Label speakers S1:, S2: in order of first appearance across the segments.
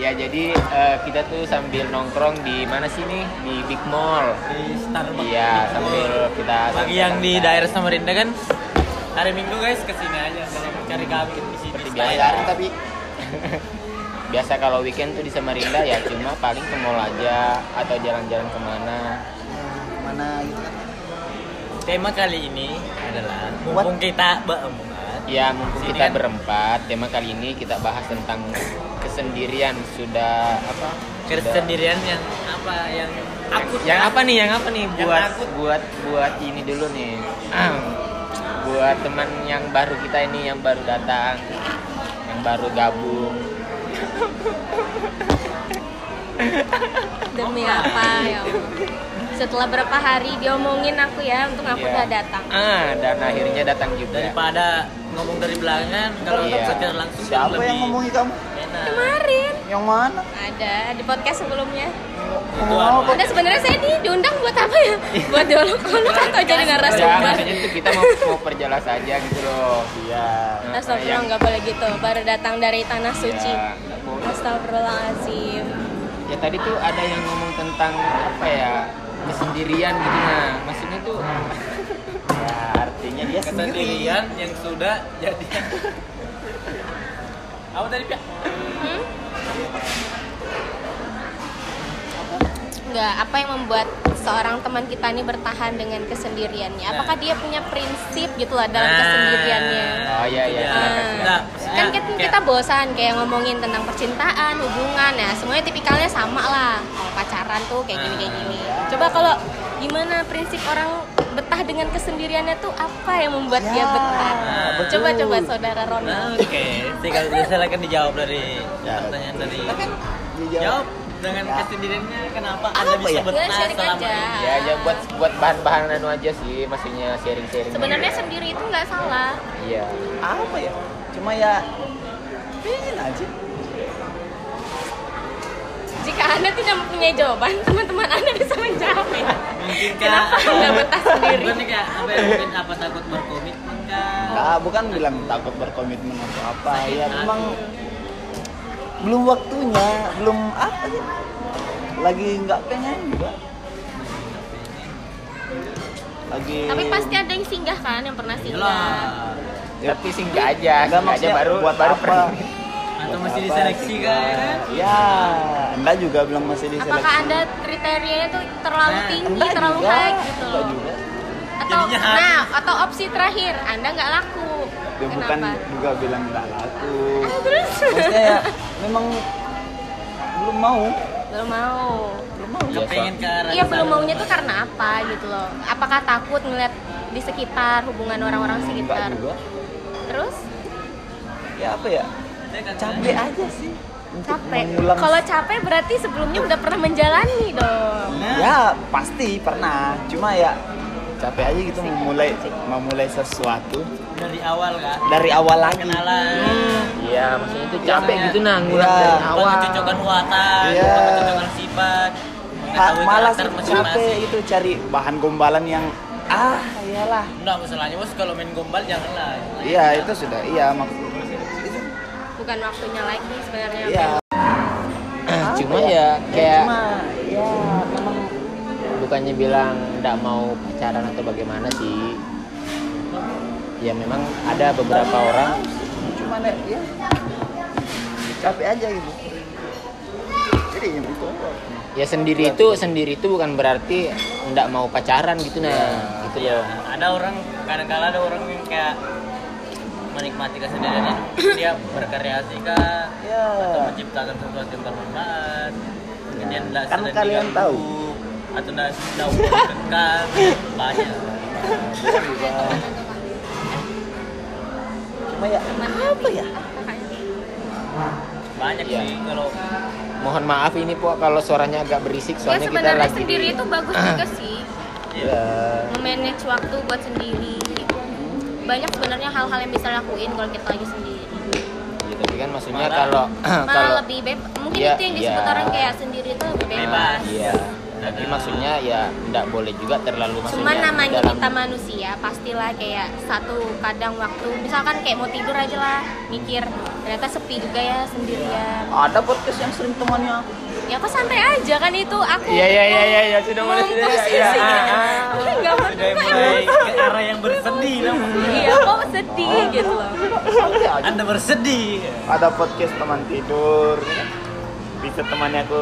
S1: Ya jadi eh, kita tuh sambil nongkrong di mana sih nih di Big Mall.
S2: Di Starbucks.
S1: Iya sambil kita
S2: Bagi yang di daerah Samarinda kan hari Minggu guys kesini aja kalau mau cari kami di sini.
S1: Seperti
S2: Style.
S1: biasa. tapi biasa kalau weekend tuh di Samarinda ya cuma paling ke mall aja atau jalan-jalan kemana.
S3: mana gitu kan
S2: Tema kali ini adalah
S3: What?
S2: mumpung kita berempat.
S1: Ya mumpung
S2: Sini
S1: kita
S2: kan.
S1: berempat tema kali ini kita bahas tentang kesendirian sudah apa? Sudah-
S2: Kesendirian yang apa yang aku
S1: yang apa nih yang apa nih
S2: Yang
S1: buat
S2: takut.
S1: buat buat ini dulu nih Ah, buat teman yang baru kita ini yang baru datang yang baru gabung
S4: Demi apa ya Allah. Setelah berapa hari diomongin aku ya, untung aku
S1: Iya.
S4: udah datang.
S1: ah dan akhirnya datang juga
S2: daripada ngomong dari belakangan kalau
S1: Iya.
S2: secara langsung kan
S3: siapa
S2: lebih
S3: yang ngomongin kamu
S2: enak.
S4: Kemarin
S3: yang mana
S4: ada di podcast sebelumnya.
S3: ngomong
S1: Oh,
S2: Tuan,
S3: apa
S4: Ada sebenarnya saya di diundang buat apa ya? Buat diolok-olok atau jadi
S1: ya
S4: narasumber?
S1: maksudnya tuh kita mau mau perjelas aja gitu loh
S3: iya
S1: Nah,
S4: Astagfirullah
S1: yang-
S4: nggak boleh gitu. Baru datang dari tanah suci.
S1: ya, nggak boleh.
S4: Astagfirullahaladzim.
S1: Ya, tadi tuh ada yang ngomong tentang apa ya kesendirian gitu nah maksudnya tuh
S3: ya artinya dia sendiri
S2: kesendirian yang sudah jadi apa tadi Pia?
S4: Hmm? Nggak, apa yang membuat seorang teman kita ini bertahan dengan kesendiriannya? Apakah dia punya prinsip gitu lah dalam
S2: Nah.
S4: kesendiriannya? Ah.
S1: oh iya iya
S2: Iya.
S1: silakan, silakan.
S2: Nah,
S4: Kan kita,
S2: kayak-
S4: kita bosan kayak ngomongin tentang percintaan, hubungan ya, semuanya tipikalnya sama lah. Kalau pacaran tuh kayak gini kayak gini. Coba kalau gimana prinsip orang betah dengan kesendiriannya tuh apa yang membuat dia
S3: Ya,
S4: betah?
S2: betul.
S4: Coba coba saudara Ronald.
S2: Oke, tinggal silakan dijawab dari
S3: Ya.
S2: pertanyaan dari.
S3: dijawab
S2: Jawab dengan
S3: Ya.
S2: kesendiriannya kenapa
S3: Apa
S2: Anda bisa
S3: ya?
S4: Gue
S2: betah
S4: sharing
S2: selama
S4: Iya, aja.
S2: ini?
S1: ya ya buat buat bahan-bahan anu aja sih maksudnya sharing-sharing
S4: Sebenarnya
S1: aja.
S4: sendiri itu nggak salah.
S1: iya
S3: apa ya cuma ya pingin aja
S4: Jika Anda tidak mempunyai jawaban, teman-teman Anda bisa menjawab. ya.
S2: Mungkin Kak,
S4: Kenapa
S2: apa-
S4: nggak betah sendiri?
S2: Bukan nih, Kak, Iya. apa yang mungkin apa takut berkomitmen Kak?
S3: Nah, bukan bilang takut berkomitmen atau apa ya memang belum waktunya belum apa ya lagi nggak pengen juga lagi
S4: Tapi pasti ada yang singgah kan, yang pernah
S2: Lah.
S4: singgah.
S3: ya,
S1: tapi singgah aja
S3: enggak
S1: singgah aja
S3: maksudnya
S1: baru
S3: buat
S1: baru
S3: apa
S1: pergi.
S2: Atau
S3: Buat
S2: masih
S3: apa
S2: diseleksi
S3: sih,
S2: Kak ya
S3: Kak?
S2: kan?
S3: ya enggak juga bilang masih diseleksi
S4: Apakah Anda kriterianya tuh terlalu
S2: Nah,
S4: tinggi,
S3: enggak
S4: terlalu
S3: juga,
S4: high gitu
S3: enggak
S4: loh?
S3: juga
S4: Atau
S2: Jadinya high.
S4: nah, atau opsi terakhir, Anda nggak laku.
S3: ya bukan
S4: Kenapa?
S3: juga bilang nggak laku
S4: Ah, terus?
S3: maksudnya ya memang belum mau
S4: belum mau.
S3: belum mau
S1: Iya,
S2: Kepengen ke arah
S4: Iya,
S2: sana.
S4: belum maunya tuh karena apa gitu loh? Apakah takut ngeliat di sekitar hubungan orang-orang
S3: Hmm, enggak
S4: sekitar?
S3: juga
S4: Terus
S3: ya apa ya
S2: Iya, kan, Kak?
S3: capek aja sih untuk
S4: capek.
S3: mengulang-
S4: Kalau capek berarti sebelumnya udah pernah menjalani dong.
S3: ya pasti pernah cuma ya capek aja gitu memulai memulai sesuatu
S2: dari awal Kak.
S3: dari awal lagi
S4: Hmm.
S2: Kenalan.
S1: iya maksudnya tuh capek
S2: Iya.
S1: gitu nah ngulang
S3: Iya.
S1: dari awal
S2: Pencocokan watak,
S3: Iya.
S2: pencocokan sifat.
S3: Ha,
S2: mengetahui
S3: malas
S2: karakter
S3: capek iya. itu cari bahan gombalan yang ah iyalah
S2: Enggak, masalahnya bos kalau main gombal janganlah.
S3: iya itu sudah iya maksud
S4: Bukan waktunya lagi sebenarnya.
S3: iya Apa
S1: cuma ya kayak
S3: cuma ya memang
S1: bukannya bilang nggak mau pacaran atau bagaimana sih ya memang ada beberapa orang
S3: cuma nek, ya capek aja gitu jadi ya itu
S1: ya sendiri itu sendiri itu bukan berarti nggak mau pacaran gitu nah gitu
S2: Ya,
S1: loh
S2: ada orang kadang-kala ada orang yang kayak menikmati kesendiriannya dia berkreasi kak
S3: ya
S2: atau menciptakan sesuatu yang bermanfaat kemudian tidak
S3: Kan kalian tahu.
S2: atau tidak tidak kekang banyak
S3: iya. cuma ya apa ya
S2: banyak
S1: Iya.
S2: sih kalau
S1: mohon maaf ini po kalau suaranya agak berisik
S4: Ya
S1: soalnya kita lagi
S4: sebenarnya
S1: Ah. Iya. di-
S4: sendiri itu bagus juga sih.
S3: ya
S4: Memanage waktu buat sendiri. Banyak sebenarnya hal-hal yang bisa lakuin kalau kita lagi sendiri.
S1: Ya, tapi kan maksudnya
S2: Malah-
S1: kalau
S4: Malah
S1: kalau
S4: lebih bebas. Mungkin
S1: Iya,
S4: itu yang disebut
S1: iya.
S4: orang kayak sendiri itu lebih bebas.
S2: Bebas.
S1: iya tapi maksudnya ya nggak boleh juga terlalu maksudnya
S4: Cuman namanya
S1: dalam-
S4: kita manusia, pastilah kayak satu kadang waktu misalkan kayak mau tidur aja lah, mikir ternyata sepi juga ya sendirian.
S3: Ada podcast yang sering temannya aku.
S4: Ya kok santai aja kan itu aku.
S1: Iya iya iya iya ya, sudah mulai sudah ya, ya.
S4: Memposisikan.
S1: Ah, ah.
S4: Enggak mau
S2: Sudah mulai ke arah yang bersedih lah.
S4: Iya, kok sedih gitu loh.
S3: Santai Iya, aja.
S2: Anda bersedih.
S3: Ada podcast teman tidur. ya kan? Bisa temannya aku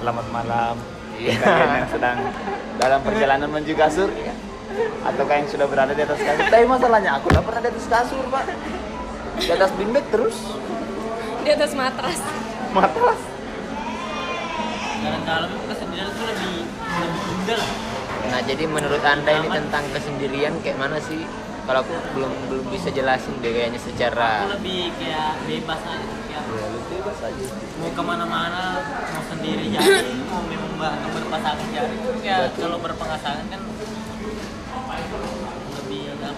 S3: selamat malam.
S1: Iya.
S3: Kalian yang sedang dalam perjalanan menuju kasur ya. Ataukah yang sudah berada di atas kasur? Tapi masalahnya aku nggak pernah di atas kasur, Pak. Di atas bimbing terus
S4: Di atas matras.
S3: matras.
S2: Karena kalau kesendirian itu kan lebih lebih indah lah.
S1: Nah jadi menurut anda ini tentang kesendirian kayak mana sih? Kalau aku belum belum bisa jelasin deh kayaknya
S2: Aku
S1: secara
S2: lebih kayak bebas aja. Kayak
S3: Ya, lu bebas aja.
S2: mau kemana-mana, mau sendiri jadi, mau memang atau berpasangan jadi. Ya kalau berpasangan kan lebih apa?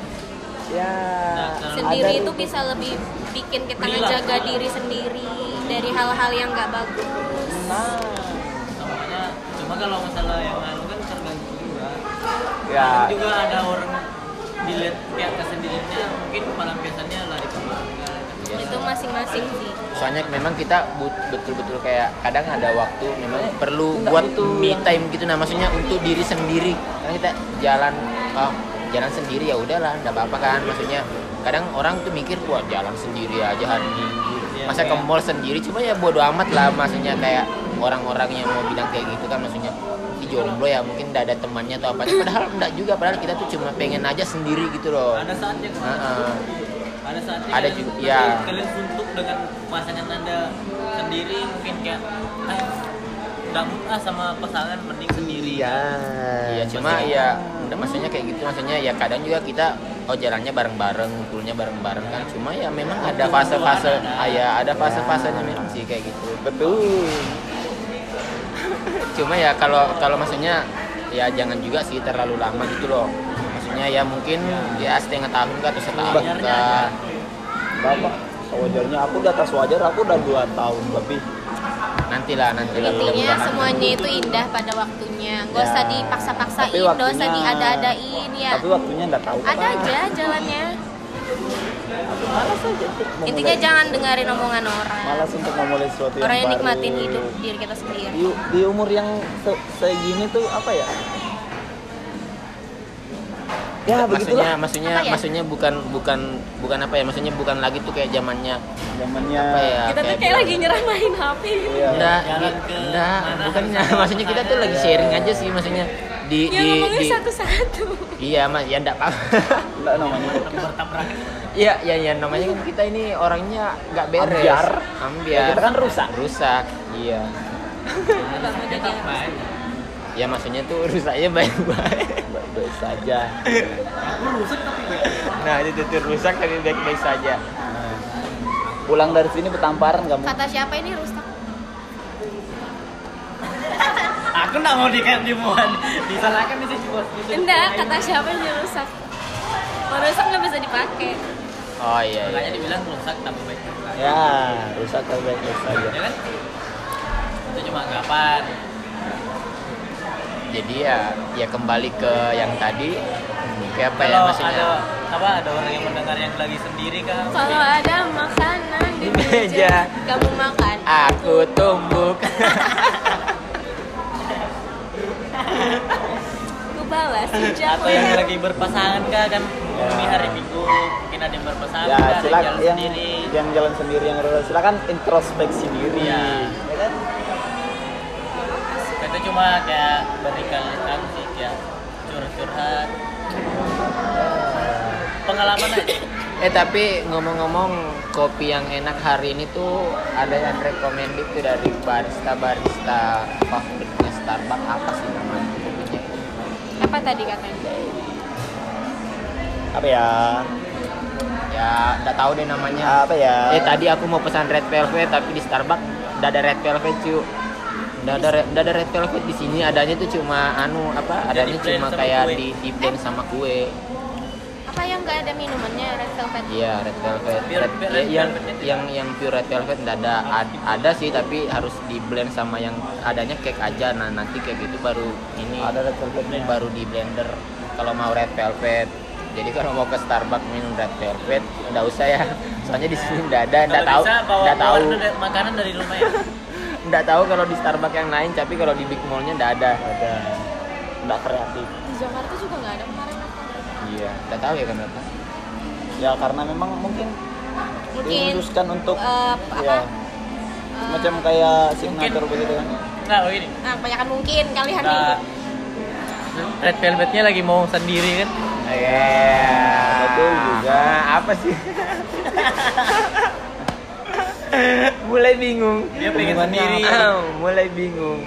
S3: Ya.
S2: Nah,
S4: Sendiri
S3: ada
S4: itu
S3: tuh.
S4: bisa lebih bikin kita ngejaga diri sendiri dari hal-hal yang nggak bagus.
S3: Nah.
S2: Namanya cuma kalau masalah yang lalu kan tergantung juga.
S3: Ya.
S2: Kan juga ada orang dilihat kayak kesendiriannya mungkin malam biasanya lari gitu. kemana.
S4: Itu masing-masing sih.
S1: soalnya memang kita but- betul-betul kayak kadang ada waktu memang
S2: Eh,
S1: perlu
S3: enggak
S1: buat
S3: butuh
S1: me
S3: yang-
S1: time gitu nah maksudnya untuk diri sendiri karena kita jalan oh, jalan sendiri ya udahlah nggak apa-apa kan maksudnya kadang orang tuh mikir wah jalan sendiri aja hari minggu
S2: Iya,
S1: masa ke
S2: kayak-
S1: mall sendiri cuma ya bodo amat lah maksudnya kayak orang-orang yang mau bilang kayak gitu kan maksudnya di jomblo ya mungkin nggak ada temannya atau apa padahal enggak juga padahal kita tuh cuma pengen aja sendiri gitu loh
S2: Ada saatnya kan? kemana.
S1: Heeh.
S2: ada saatnya
S1: Ada
S2: kalian-
S1: juga,
S2: kalian-
S1: ya.
S2: kalian suntuk dengan pasangan anda sendiri mungkin kayak ah nggak mood ah sama pasangan mending sendiri
S1: Iya cuma ya udah maksudnya kayak gitu maksudnya ya kadang juga kita oh jalannya bareng-bareng ngumpulnya bareng-bareng kan cuma ya memang ada fase-fase ah, ya ada fase-fasenya memang sih kayak gitu
S3: Betul.
S1: cuma ya kalau kalau maksudnya ya jangan juga sih terlalu lama gitu loh maksudnya ya mungkin ya setengah tahun kah atau setahun
S2: Wajarnya
S1: kah
S3: Bapak, sewajarnya aku di atas wajar aku udah 2 tahun lebih.
S1: nantilah nantilah
S4: Intinya
S1: mudah-mudahan.
S4: semuanya itu indah pada waktunya. Gak usah
S3: Ya.
S4: dipaksa-paksain,
S3: Tapi
S4: gak usah
S3: waktunya-
S4: diada-adain ya.
S3: Tapi waktunya nggak tahu.
S4: Ada
S3: kapan.
S4: aja jalannya.
S3: Malas aja. untuk memulai-
S4: Intinya jangan dengerin omongan orang.
S3: Malas ya, untuk memulai sesuatu yang
S4: Orang yang
S3: baru.
S4: nikmatin hidup diri kita sendiri.
S3: Di, di umur yang se- segini tuh apa ya? Ya
S1: maksudnya
S3: begitulah.
S1: maksudnya
S4: Apa ya?
S1: maksudnya bukan bukan bukan apa ya maksudnya bukan lagi tuh kayak zamannya
S3: Zamannya.
S1: apa ya
S4: Kita tuh
S3: gitu.
S4: kayak lagi nyerah main HP gitu.
S3: Iya.
S1: Enggak,
S2: Jalan
S1: di-
S2: ke
S1: enggak,
S2: mana
S1: bukan
S2: harus
S1: enggak.
S2: ada
S1: maksudnya kita tuh lagi
S3: Iya.
S1: sharing aja sih maksudnya di
S4: Ya
S1: di,
S4: ngomongin
S1: di-
S4: satu-satu.
S1: Iya, Mas, ya enggak apa-apa.
S3: Enggak namanya.
S2: bertabrakan
S1: Iya, ya ya namanya kan kita ini orangnya enggak beres.
S3: Ambiar.
S1: Ambiar.
S3: Ya, kita kan rusak.
S1: Rusak. Iya.
S2: kita main
S1: Ya maksudnya tuh rusaknya baik-baik.
S3: Baik-baik saja.
S1: Nah, itu tuh rusak tapi baik-baik saja.
S3: Nah. Pulang dari sini bertamparan kamu.
S4: Kata siapa ini rusak?
S2: aku nggak mau dikat dimuan disalahkan di sini bos Di sini.
S4: Enggak, kata siapa ini rusak? Kalau rusak nggak bisa dipakai.
S1: Oh iya. iya.
S2: makanya dibilang rusak tambah baik
S3: Ya, rusak tapi baik-baik saja.
S2: ya kan itu cuma anggapan
S1: Iya, Jadi ya ya kembali ke yang tadi. Kayak apa ya
S2: kalau
S1: maksudnya?
S2: ada apa ada orang yang mendengar yang lagi sendiri kan
S4: Kalau ada makanan
S1: Di
S4: di
S1: meja.
S4: meja, kamu makan.
S1: Aku tumbuk.
S4: Aku balas
S2: atau yang
S4: hijau.
S2: lagi berpasangan kah kan ini hari minggu mungkin ada yang berpasangan
S3: Ya,
S2: ada yang
S1: Iya.
S2: jalan
S3: silakan yang
S2: sendiri
S3: yang jalan sendiri yang rusak. silakan introspeksi diri.
S2: Iya.
S3: Ya kan?
S2: itu cuma kayak berikan aku sih kayak curhat-curhat pengalaman aja
S1: Eh tapi ngomong-ngomong kopi yang enak hari ini tuh ada yang recommended tuh dari barista barista favoritnya Starbucks apa sih namanya kopinya?
S4: Apa tadi katanya?
S3: Apa ya?
S1: Ya nggak tahu deh namanya.
S3: Apa ya?
S1: Eh tadi aku mau pesan red velvet tapi di Starbucks nggak ada red velvet cu. Nggak ada re- nggak ada red velvet di sini adanya tuh cuma anu apa? Adanya
S2: di-blend
S1: cuma
S2: sama
S1: kayak
S2: kue.
S1: di di blend sama kue.
S4: apa yang nggak ada minumannya red velvet
S1: Iya, red velvet.
S2: Pure-
S1: Red-
S2: pure
S1: ya,
S2: red
S1: yang
S2: velvet itu.
S1: yang yang pure red velvet nggak ada Ad- ada sih tapi harus di blend sama yang adanya cake aja. Nah, nanti cake itu baru ini
S3: Ada ya. red velvetnya.
S1: baru di blender. Kalau mau red velvet. Jadi kalau mau ke Starbucks minum red velvet, nggak usah ya. Soalnya di sini nggak ada, nggak
S2: Kalau
S1: tahu,
S2: bisa bawa
S1: nggak tahu,
S2: keluar dari- makanan dari rumah ya.
S1: nggak tahu kalau di Starbucks yang lain, tapi kalau di Big Mall-nya nggak ada.
S3: ada nggak kreatif
S4: di Jakarta juga nggak ada kemarin apa
S1: Iya, nggak tahu ya kenapa.
S3: ya karena memang mungkin
S4: mungkin
S3: dihususkan untuk
S4: eh, apa Eh,
S3: ya macam kayak signature
S2: Mungkin.
S3: begitu kan
S2: Nah, oh ini.
S4: nah kebanyakan mungkin kali hari
S2: Nah, Red Velvetnya lagi mau sendiri kan?
S1: Iya,
S3: betul juga.
S1: Apa sih? mulai bingung.
S2: Dia pengen
S3: Hubungannya
S2: sendiri.
S1: Ah, mulai bingung.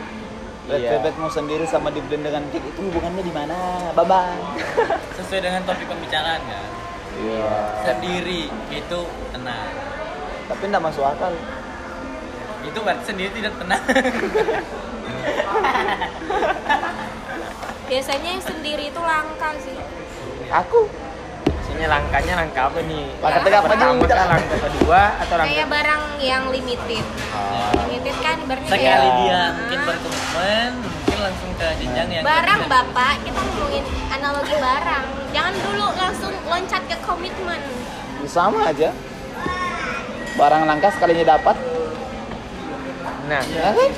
S3: red
S1: Iya.
S3: velvet mau sendiri sama di blend dengan cake itu hubungannya di mana babang
S2: Sesuai dengan topik pembicaraan kan.
S1: Iya.
S2: Sendiri itu tenang.
S3: tapi nggak masuk akal
S2: Itu berarti sendiri tidak tenang.
S4: biasanya yang sendiri itu langka sih
S3: aku
S1: Maksudnya langkahnya langkah apa nih?
S3: Langkah
S1: Langkah
S3: apa
S1: pertama
S3: juga?
S1: kah, langkah kedua atau langkah
S4: kayak barang yang limited limited kan berarti
S2: Sekali
S4: kayak
S2: dia mungkin berkomitmen, mungkin langsung ke jenjang yang
S4: barang
S2: kedua.
S4: bapak kita ngomongin analogi barang jangan dulu langsung loncat ke komitmen
S3: Ya, sama aja barang langka sekalinya dapat
S1: Nah,
S3: ya kan?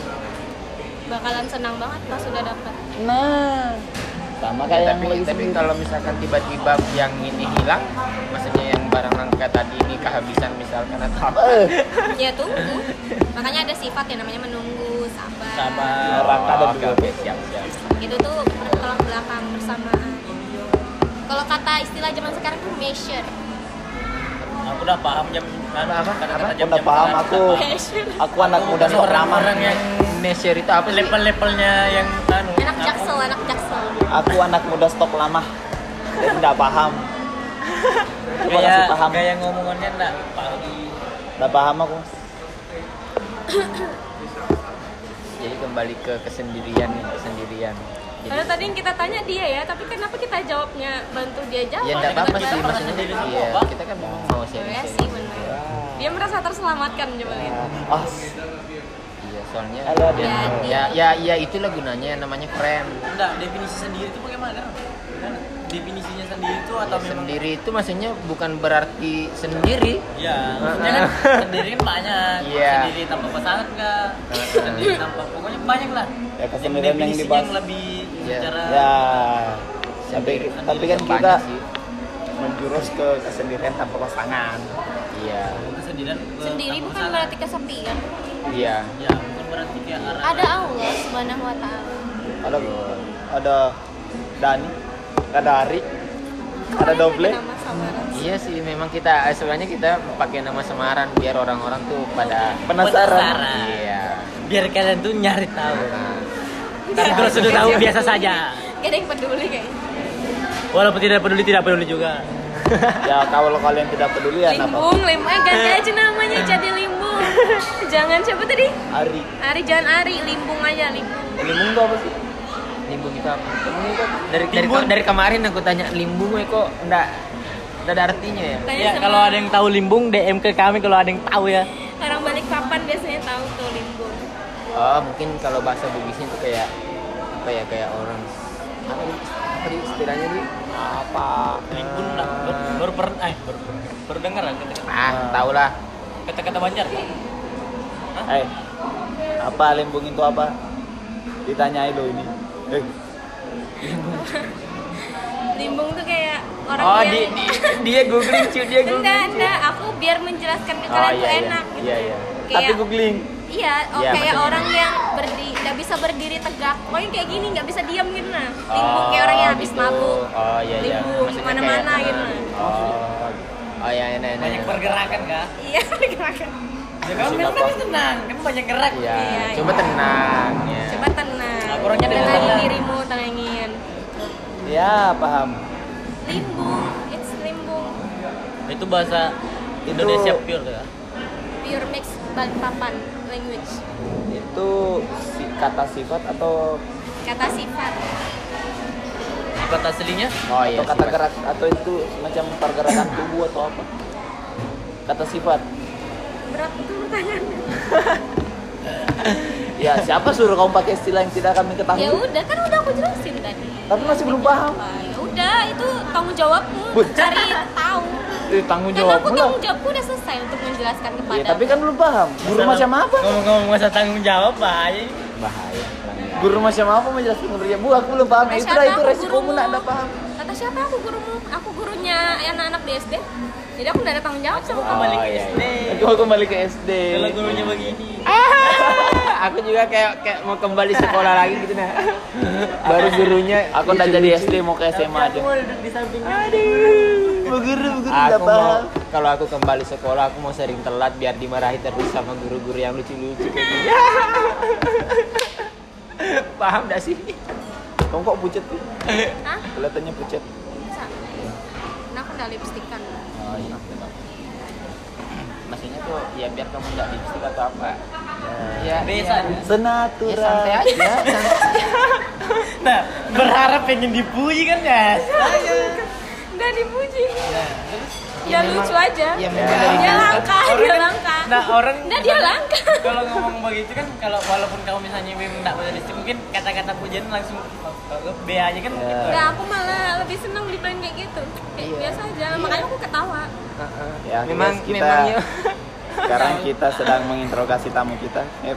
S4: bakalan senang banget pas sudah dapat
S3: nah sama kayak yang
S1: tapi,
S3: lagi
S1: tapi
S3: sendiri.
S1: kalau misalkan tiba-tiba yang ini hilang, maksudnya yang barang langka tadi ini kehabisan misalkan atau apa?
S3: eh
S4: ya tunggu makanya ada sifat yang namanya menunggu sabar
S2: Sabar.
S3: Oh, Langkah ada
S1: oke,
S3: dua.
S1: oke, siap, siap.
S4: itu tuh bertolak belakang bersamaan kalau kata istilah zaman sekarang tuh measure
S2: Aku udah paham jam
S1: Apa, apa,
S2: kata-kata
S1: apa?
S2: jam-jam
S3: Udah paham
S2: malam,
S3: aku.
S2: udah paham.
S4: measure
S3: aku anak muda
S2: Bukan
S3: sok ramah
S2: orang-orang yang
S1: Measure itu apa sih?
S2: level-levelnya yang anu.
S4: anak
S2: aku-
S4: jaksel anak jaksel
S3: aku anak muda stok lama dan nggak paham coba kasih
S2: Kayak
S3: paham
S2: kayak ngomongannya enggak paham.
S3: nggak paham aku
S1: Jadi kembali ke kesendirian nih, kesendirian. Jadi-
S4: karena tadi yang kita tanya dia ya tapi kenapa kita jawabnya bantu dia jawab
S1: Ya enggak apa-apa sih,
S4: Kita jawab.
S1: maksudnya iya, kita kan memang mau
S4: Iya
S1: sharing-sharing.
S4: sih benar dia merasa terselamatkan coba lihat
S3: ah
S1: Iya, soalnya
S3: Halo, Adi.
S1: ya, ya, ya, ya itulah gunanya namanya friend.
S2: Enggak, definisi sendiri itu bagaimana? Kan Definisinya sendiri itu
S1: Ya,
S2: atau memang
S1: sendiri itu maksudnya bukan berarti sendiri.
S2: Ya, maksudnya kan sendiri kan banyak.
S1: Iya.
S2: Sendiri tanpa pasangan enggak? Sendiri tanpa pokoknya banyak lah.
S3: Ya, kesendirian yang
S2: definisinya
S3: dibahas.
S2: yang lebih
S1: Iya.
S2: secara
S3: ya tapi
S1: Sendiri-
S3: tapi kan
S1: sendiri
S3: kita
S1: banyak sih.
S3: menjurus ke kesendirian tanpa pasangan
S1: Iya.
S2: kesendirian ke-
S4: sendiri
S2: tanpa
S4: bukan
S2: pasangan.
S4: berarti kesepian
S1: Iya.
S2: Ya, bukan berarti kayak arah.
S4: ada Allah subhanahu wa ta'ala
S3: ada ada Dani ada Ari ada
S4: Kemarin
S3: Doble
S4: nama samaran.
S1: Iya sih, memang kita eh, sebenarnya kita pakai nama Semaran biar orang-orang tuh pada
S3: penasaran
S2: Penasaran.
S1: Iya.
S2: Biar kalian tuh nyari tahu.
S1: Nah,
S2: Tapi kalau sudah tahu biasa saja.
S4: Gak Iya. ada yang peduli kayaknya
S2: Walaupun tidak peduli tidak peduli juga.
S3: ya kalau kalian tidak peduli
S1: Iya,
S3: ya nggak apa
S4: Limbung, lim, eh ganti aja namanya jadi limbung Jangan siapa tadi?
S3: Ari
S4: Ari, jangan Ari, limbung aja, limbung
S3: limbung tuh apa sih
S1: limbung itu apa? Dari dari,
S2: Limbung.
S1: dari kemarin aku tanya limbung ya kok enggak enggak ada artinya ya?
S4: Tanya
S2: Ya,
S4: sama
S2: kalau ada yang tahu limbung DM ke kami kalau ada yang tahu ya.
S4: orang balik papan biasanya tahu tuh limbung
S1: Oh, mungkin kalau bahasa Bugisnya itu kayak apa ya kayak orang apa di- apa di istilahnya di
S3: apa
S2: Limbung lah baru, baru per eh baru, baru, baru dengar lah kata-
S1: ah tau lah
S2: kata-kata Banjar.
S3: eh apa limbung itu apa ditanyai lo ini eh,
S4: Limbung tuh kayak orang
S1: oh
S4: yang
S1: di, di- dia googling cuy dia
S4: Enggak,
S1: googling
S4: enggak, aku biar menjelaskan ke
S1: Oh,
S4: kalian tuh
S1: iya, iya.
S4: enak gitu
S1: Iya, iya.
S4: Kayak,
S3: tapi googling
S4: Iya, oh,
S1: Iya,
S4: kayak
S1: maksudnya.
S4: orang yang berdiri, nggak bisa berdiri tegak Pokoknya kayak gini, nggak bisa diam gitu nah
S1: Oh,
S4: Limbung kayak orang yang habis
S1: gitu.
S4: mabuk
S1: oh iya iya
S4: Limbung,
S1: Maksudnya
S4: kemana-mana
S1: kayak,
S4: gitu.
S1: oh oh iya iya iya,
S2: Banyak
S1: iya
S2: pergerakan kan?
S4: Iya, gerakan
S2: Ya kan memang kan tenang, kan banyak gerak.
S1: Iya,
S4: Iya,
S1: coba
S4: iya.
S1: tenang ya
S4: Coba tenang.
S3: Nah,
S2: Aku orangnya dengan
S4: Tenangin
S2: tenang.
S4: dirimu, tenangin.
S3: ya paham
S4: Limbung, it's limbung.
S2: Itu bahasa Indonesia pure ya.
S4: Pure mix Balikpapan language.
S3: itu si- kata sifat atau
S4: Kata sifat.
S2: kata aslinya
S1: oh iya
S3: atau kata
S1: sifat.
S3: gerak atau itu semacam pergerakan tubuh atau apa kata sifat
S4: berat itu pertanyaan
S3: ya siapa suruh kamu pakai istilah yang tidak kami ketahui
S4: ya udah kan udah aku jelasin tadi
S3: tapi masih belum paham
S4: Wah, ya udah itu tanggung jawabmu
S3: Bud.
S4: cari tahu
S3: eh, tanggung
S4: karena
S3: jawab
S4: aku
S3: lah
S4: tanggung jawabku udah selesai untuk menjelaskan kepada
S3: ya tapi kan belum paham guru macam apa
S2: ngomong-ngomong masa tanggung jawab bahaya
S1: bahaya
S3: guru macam apa menjelaskan kerja bu aku belum paham
S4: Kata
S3: itu lah
S4: siapa
S3: itu
S4: aku
S3: resikomu
S4: gurumu?
S3: nak anda paham
S4: kata siapa aku gurumu aku gurunya anak-anak di SD jadi aku udah ada tanggung jawab sama kamu
S2: kembali
S1: Oh,
S2: ke
S1: iya,
S2: SD
S3: aku aku balik ke SD
S2: kalau gurunya begini
S1: aku juga kayak kayak mau kembali sekolah lagi gitu nah
S3: baru gurunya aku udah jadi SD mau ke SMA aja
S2: aku mau duduk di sampingnya
S3: bu guru bu
S1: aku
S3: guru
S2: Ah,
S3: nggak
S1: mau
S3: paham
S1: kalau aku kembali sekolah aku mau sering telat biar dimarahi terus sama guru-guru yang lucu-lucu kayak gitu. gini paham gak sih
S3: kamu kok pucat sih
S4: Hah?
S3: kelihatannya pucat
S4: Masa? Nah, aku udah lipstikan
S1: oh iya maksudnya tuh ya biar kamu nggak lipstick atau apa ya
S2: Besa.
S1: ya.
S3: senatural
S1: Ya, santai aja
S2: nah berharap pengen dipuji kan guys
S4: Udah dipuji Ya lucu aja
S1: ya memang dari
S4: Dia langka, dia
S2: Orang-
S4: langka
S2: nah orang
S4: Udah dia langka
S2: kalau ngomong begitu kan kalau walaupun kamu misalnya memang tidak punya listrik mungkin kata-kata pujian langsung ke B aja kan mungkin
S4: Nah,
S3: Iya.
S4: aku malah lebih seneng dibilang kayak gitu Kayak biasa aja, makanya aku ketawa
S3: ya
S1: memang
S3: guys, kita
S1: memangnya
S3: sekarang kita sedang menginterogasi tamu kita Eh,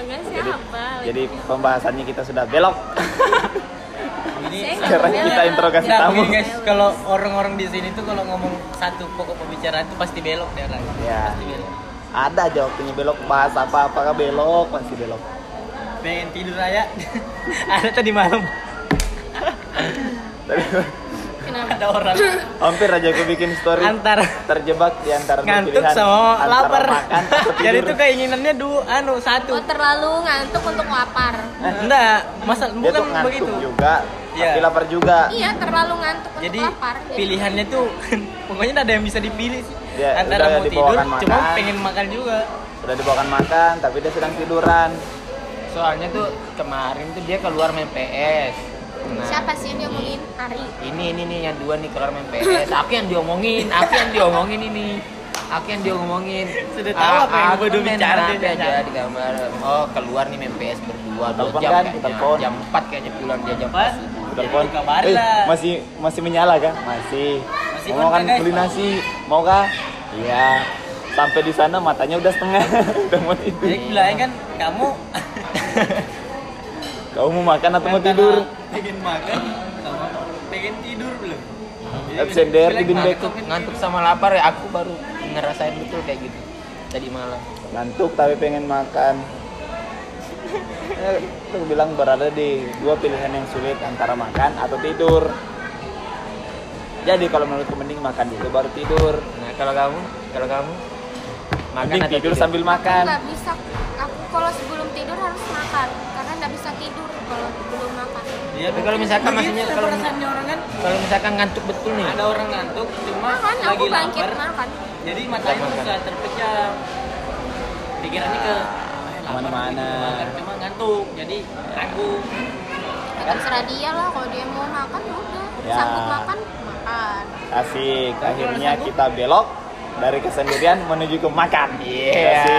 S4: Enggak siapa
S3: jadi pembahasannya kita sudah belok
S2: ini
S4: Saya nggak
S3: sekarang kita
S4: belok.
S3: interogasi
S2: Nah,
S3: tamu
S2: gini guys, kalau orang-orang di sini tuh kalau ngomong satu pokok pembicaraan tuh pasti belok deh orang.
S3: Ya.
S2: Pasti belok.
S3: ada aja waktunya belok bahas apa apakah belok pasti belok
S2: Pengen tidur aja. ada tadi malam
S3: tapi
S4: Kenapa?
S2: ada orang
S3: hampir aja aku bikin story
S2: antara
S3: terjebak di antara dua
S2: ngantuk
S3: pilihan,
S2: sama
S3: antara
S2: lapar.
S3: makan atau
S2: Jadi
S3: tidur.
S2: tuh kan keinginannya dua anu satu.
S4: Oh terlalu ngantuk untuk lapar
S2: Enggak, masa
S3: dia tuh
S2: bukan
S3: ngantuk
S2: begitu.
S3: juga
S2: Iya.
S3: tapi lapar juga
S4: Iya terlalu ngantuk untuk
S2: Jadi
S4: lapar ya.
S2: pilihannya tuh pokoknya nggak ada yang bisa dipilih sih.
S3: Ya, udah
S2: antara mau tidur,
S3: dibawakan
S2: cuma
S3: makan.
S2: pengen makan juga.
S3: udah dibawakan makan tapi dia sedang tiduran
S1: soalnya tuh kemarin tuh dia keluar main PS Nah,
S4: Siapa sih yang diomongin? Ari
S1: ini ini nih yang dua nih keluar main PS aku yang diomongin aku yang diomongin ini aku yang diomongin
S2: Sudah tahu apa yang
S1: aku
S2: bodoh
S1: main
S2: bicara
S1: HP
S2: dia,
S1: aja
S2: Cak.
S1: di kamar oh keluar nih main PS berdua dua
S3: Telepon
S1: jam
S3: kan?
S1: kayaknya
S3: Telepon.
S1: jam 4 kayaknya pulang dia jam
S2: Apa?
S1: 4 subuh.
S3: telepon
S2: kabar
S3: eh,
S2: lah.
S3: masih masih menyala kan masih,
S2: Masih
S3: mau
S2: on
S3: kan
S2: kan, guys?
S3: beli nasi mau kah iya sampai di sana matanya udah setengah udah mau tidur
S2: Jadi bilangnya kan kamu
S3: kamu mau makan atau mau
S2: antara
S3: tidur
S2: Pengen makan sama pengen tidur belum. Jadi
S3: Absender,
S2: bilang
S3: tidur
S1: ngantuk ngantuk sama lapar ya aku baru ngerasain betul kayak gitu tadi malam
S3: ngantuk tapi pengen makan Eh, Tuh bilang berada di dua pilihan yang sulit antara makan atau tidur jadi kalau menurutku mending makan dulu baru tidur
S1: nah kalau kamu kalau kamu makan
S3: mending
S1: atau
S3: tidur sambil makan
S4: nggak bisa aku kalau sebelum tidur harus makan karena nggak bisa tidur kalau belum makan
S2: Iya,
S1: Tapi kalau misalkan
S2: begitu
S1: maksudnya
S2: kan
S1: kalau-
S2: perasaannya orang kan
S1: kalau misalkan ngantuk betul nih
S2: ada orang ngantuk cuma
S4: makan aku
S2: lagi
S4: bangkit
S2: lapar.
S4: makan
S2: Jadi matanya
S1: Makan.
S2: sudah terpejam. Pikirannya ke eh, lapar,
S3: Kemana-mana.
S2: pengen makan, Cuma ngantuk. Jadi aku
S1: Kan?
S4: ya terserah dia lah kalau dia mau makan ya udah
S3: Ya.
S4: sanggup makan makan
S3: asik akhirnya kita belok dari kesendirian menuju ke makan
S1: Iya.
S3: asik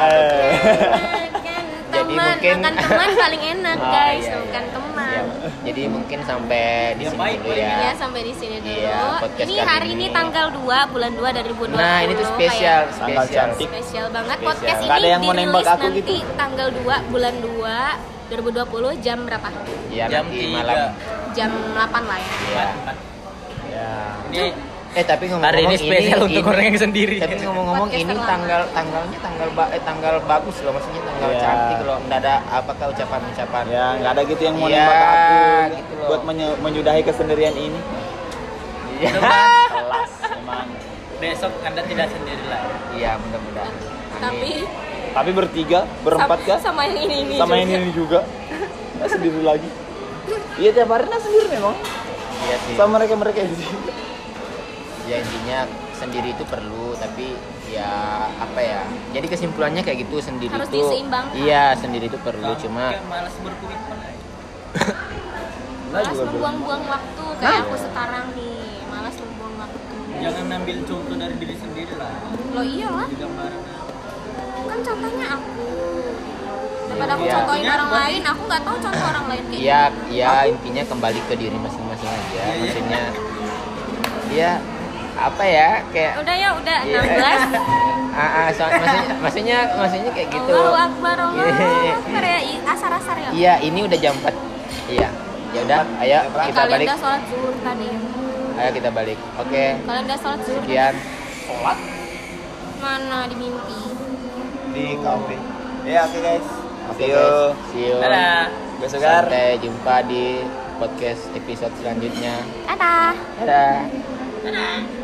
S3: Eh.
S4: Kan
S1: Jadi
S4: teman
S1: mungkin-
S4: makan teman paling enak
S1: Oh,
S4: guys
S1: iya, iya.
S4: bukan teman
S1: Ya, jadi mungkin sampai di
S2: Ya,
S1: sini
S2: baik,
S1: dulu
S2: baik.
S1: ya
S4: Ya sampai di sini dulu.
S1: Iya, podcast
S4: ini
S1: kali
S4: hari
S1: ini.
S4: ini tanggal 2 bulan 2 dari 2020.
S1: Nah, ini tuh spesial,
S4: kayak
S3: Tanggal
S1: spesial.
S3: cantik.
S4: spesial banget
S1: Spesial.
S4: podcast ini.
S3: Nggak ada yang mau
S4: dirilis
S3: nembak aku
S4: nanti
S3: gitu.
S4: tanggal 2 bulan 2 2020 jam berapa?
S1: Ya,
S2: jam
S1: nanti malam.
S2: tiga.
S4: Jam 8 lah ya.
S1: Ya.
S3: ya
S2: Ini
S1: Eh, tapi ngomong-ngomong
S2: hari ini spesial untuk orang yang sendiri.
S1: Tapi ngomong-ngomong
S4: Podcast
S1: ini
S4: terlama.
S1: tanggal tanggalnya tanggal ba- eh, tanggal bagus loh, maksudnya tanggal
S3: Iya.
S1: cantik loh. Enggak ada apakah ucapan-ucapan.
S3: ya nggak ada gitu yang mau
S1: Iya,
S3: nembak aku
S1: gitu loh.
S3: buat menye- menyudahi kesendirian ini
S1: Iya.
S3: kelas emang
S2: Besok Anda tidak sendiri lagi.
S1: Iya, mudah-mudahan. Amin.
S4: Tapi
S3: tapi bertiga berempat
S4: sam-
S3: kan
S4: sama yang ini ini.
S3: sama
S4: juga.
S3: ini ini juga Nah, sendiri lagi iya tiap hari nah sendiri memang
S1: iya sih.
S3: sama mereka mereka di sini
S1: Ya intinya sendiri itu perlu, tapi ya apa ya? Jadi kesimpulannya kayak gitu sendiri
S4: Harus
S1: itu
S4: diseimbangkan.
S1: Iya, sendiri itu perlu
S2: Kamu
S1: cuma
S2: juga malas berkomitmen.
S4: malas
S3: juga
S4: membuang-buang waktu kayak aku sekarang nih malas membuang waktu
S2: jangan ambil contoh dari diri sendiri lah
S4: lo iyalah
S2: di gambaran
S4: kan contohnya aku daripada aku
S1: Iya.
S4: contohin
S2: Iya,
S4: orang
S2: kan?
S4: lain aku nggak tahu contoh orang lain kayak
S1: ya
S4: gimana.
S1: ya intinya kembali ke diri masing-masing aja
S2: iya.
S1: maksudnya ya apa ya kayak
S4: udah ya udah
S1: Iya.
S4: 16
S1: ah, ah, so- maksudnya maksudnya maksudnya kayak gitu
S4: Allahu Akbar Allahu
S1: Iya.
S4: Akbar ya i- asar-asar ya
S1: iya ini udah jam 4 iya ya udah ayo kita
S4: kalian
S1: balik
S4: udah sholat zuhur tadi
S1: ayo kita balik oke
S4: kalian udah sholat zuhur
S1: sekian
S3: sholat
S4: mana di mimpi
S3: di kafe ya oke guys
S1: oke
S3: see you
S1: guys see you
S2: dadah
S3: gue Sugar
S1: sampai jumpa di podcast episode selanjutnya
S4: dadah
S1: dadah
S2: dadah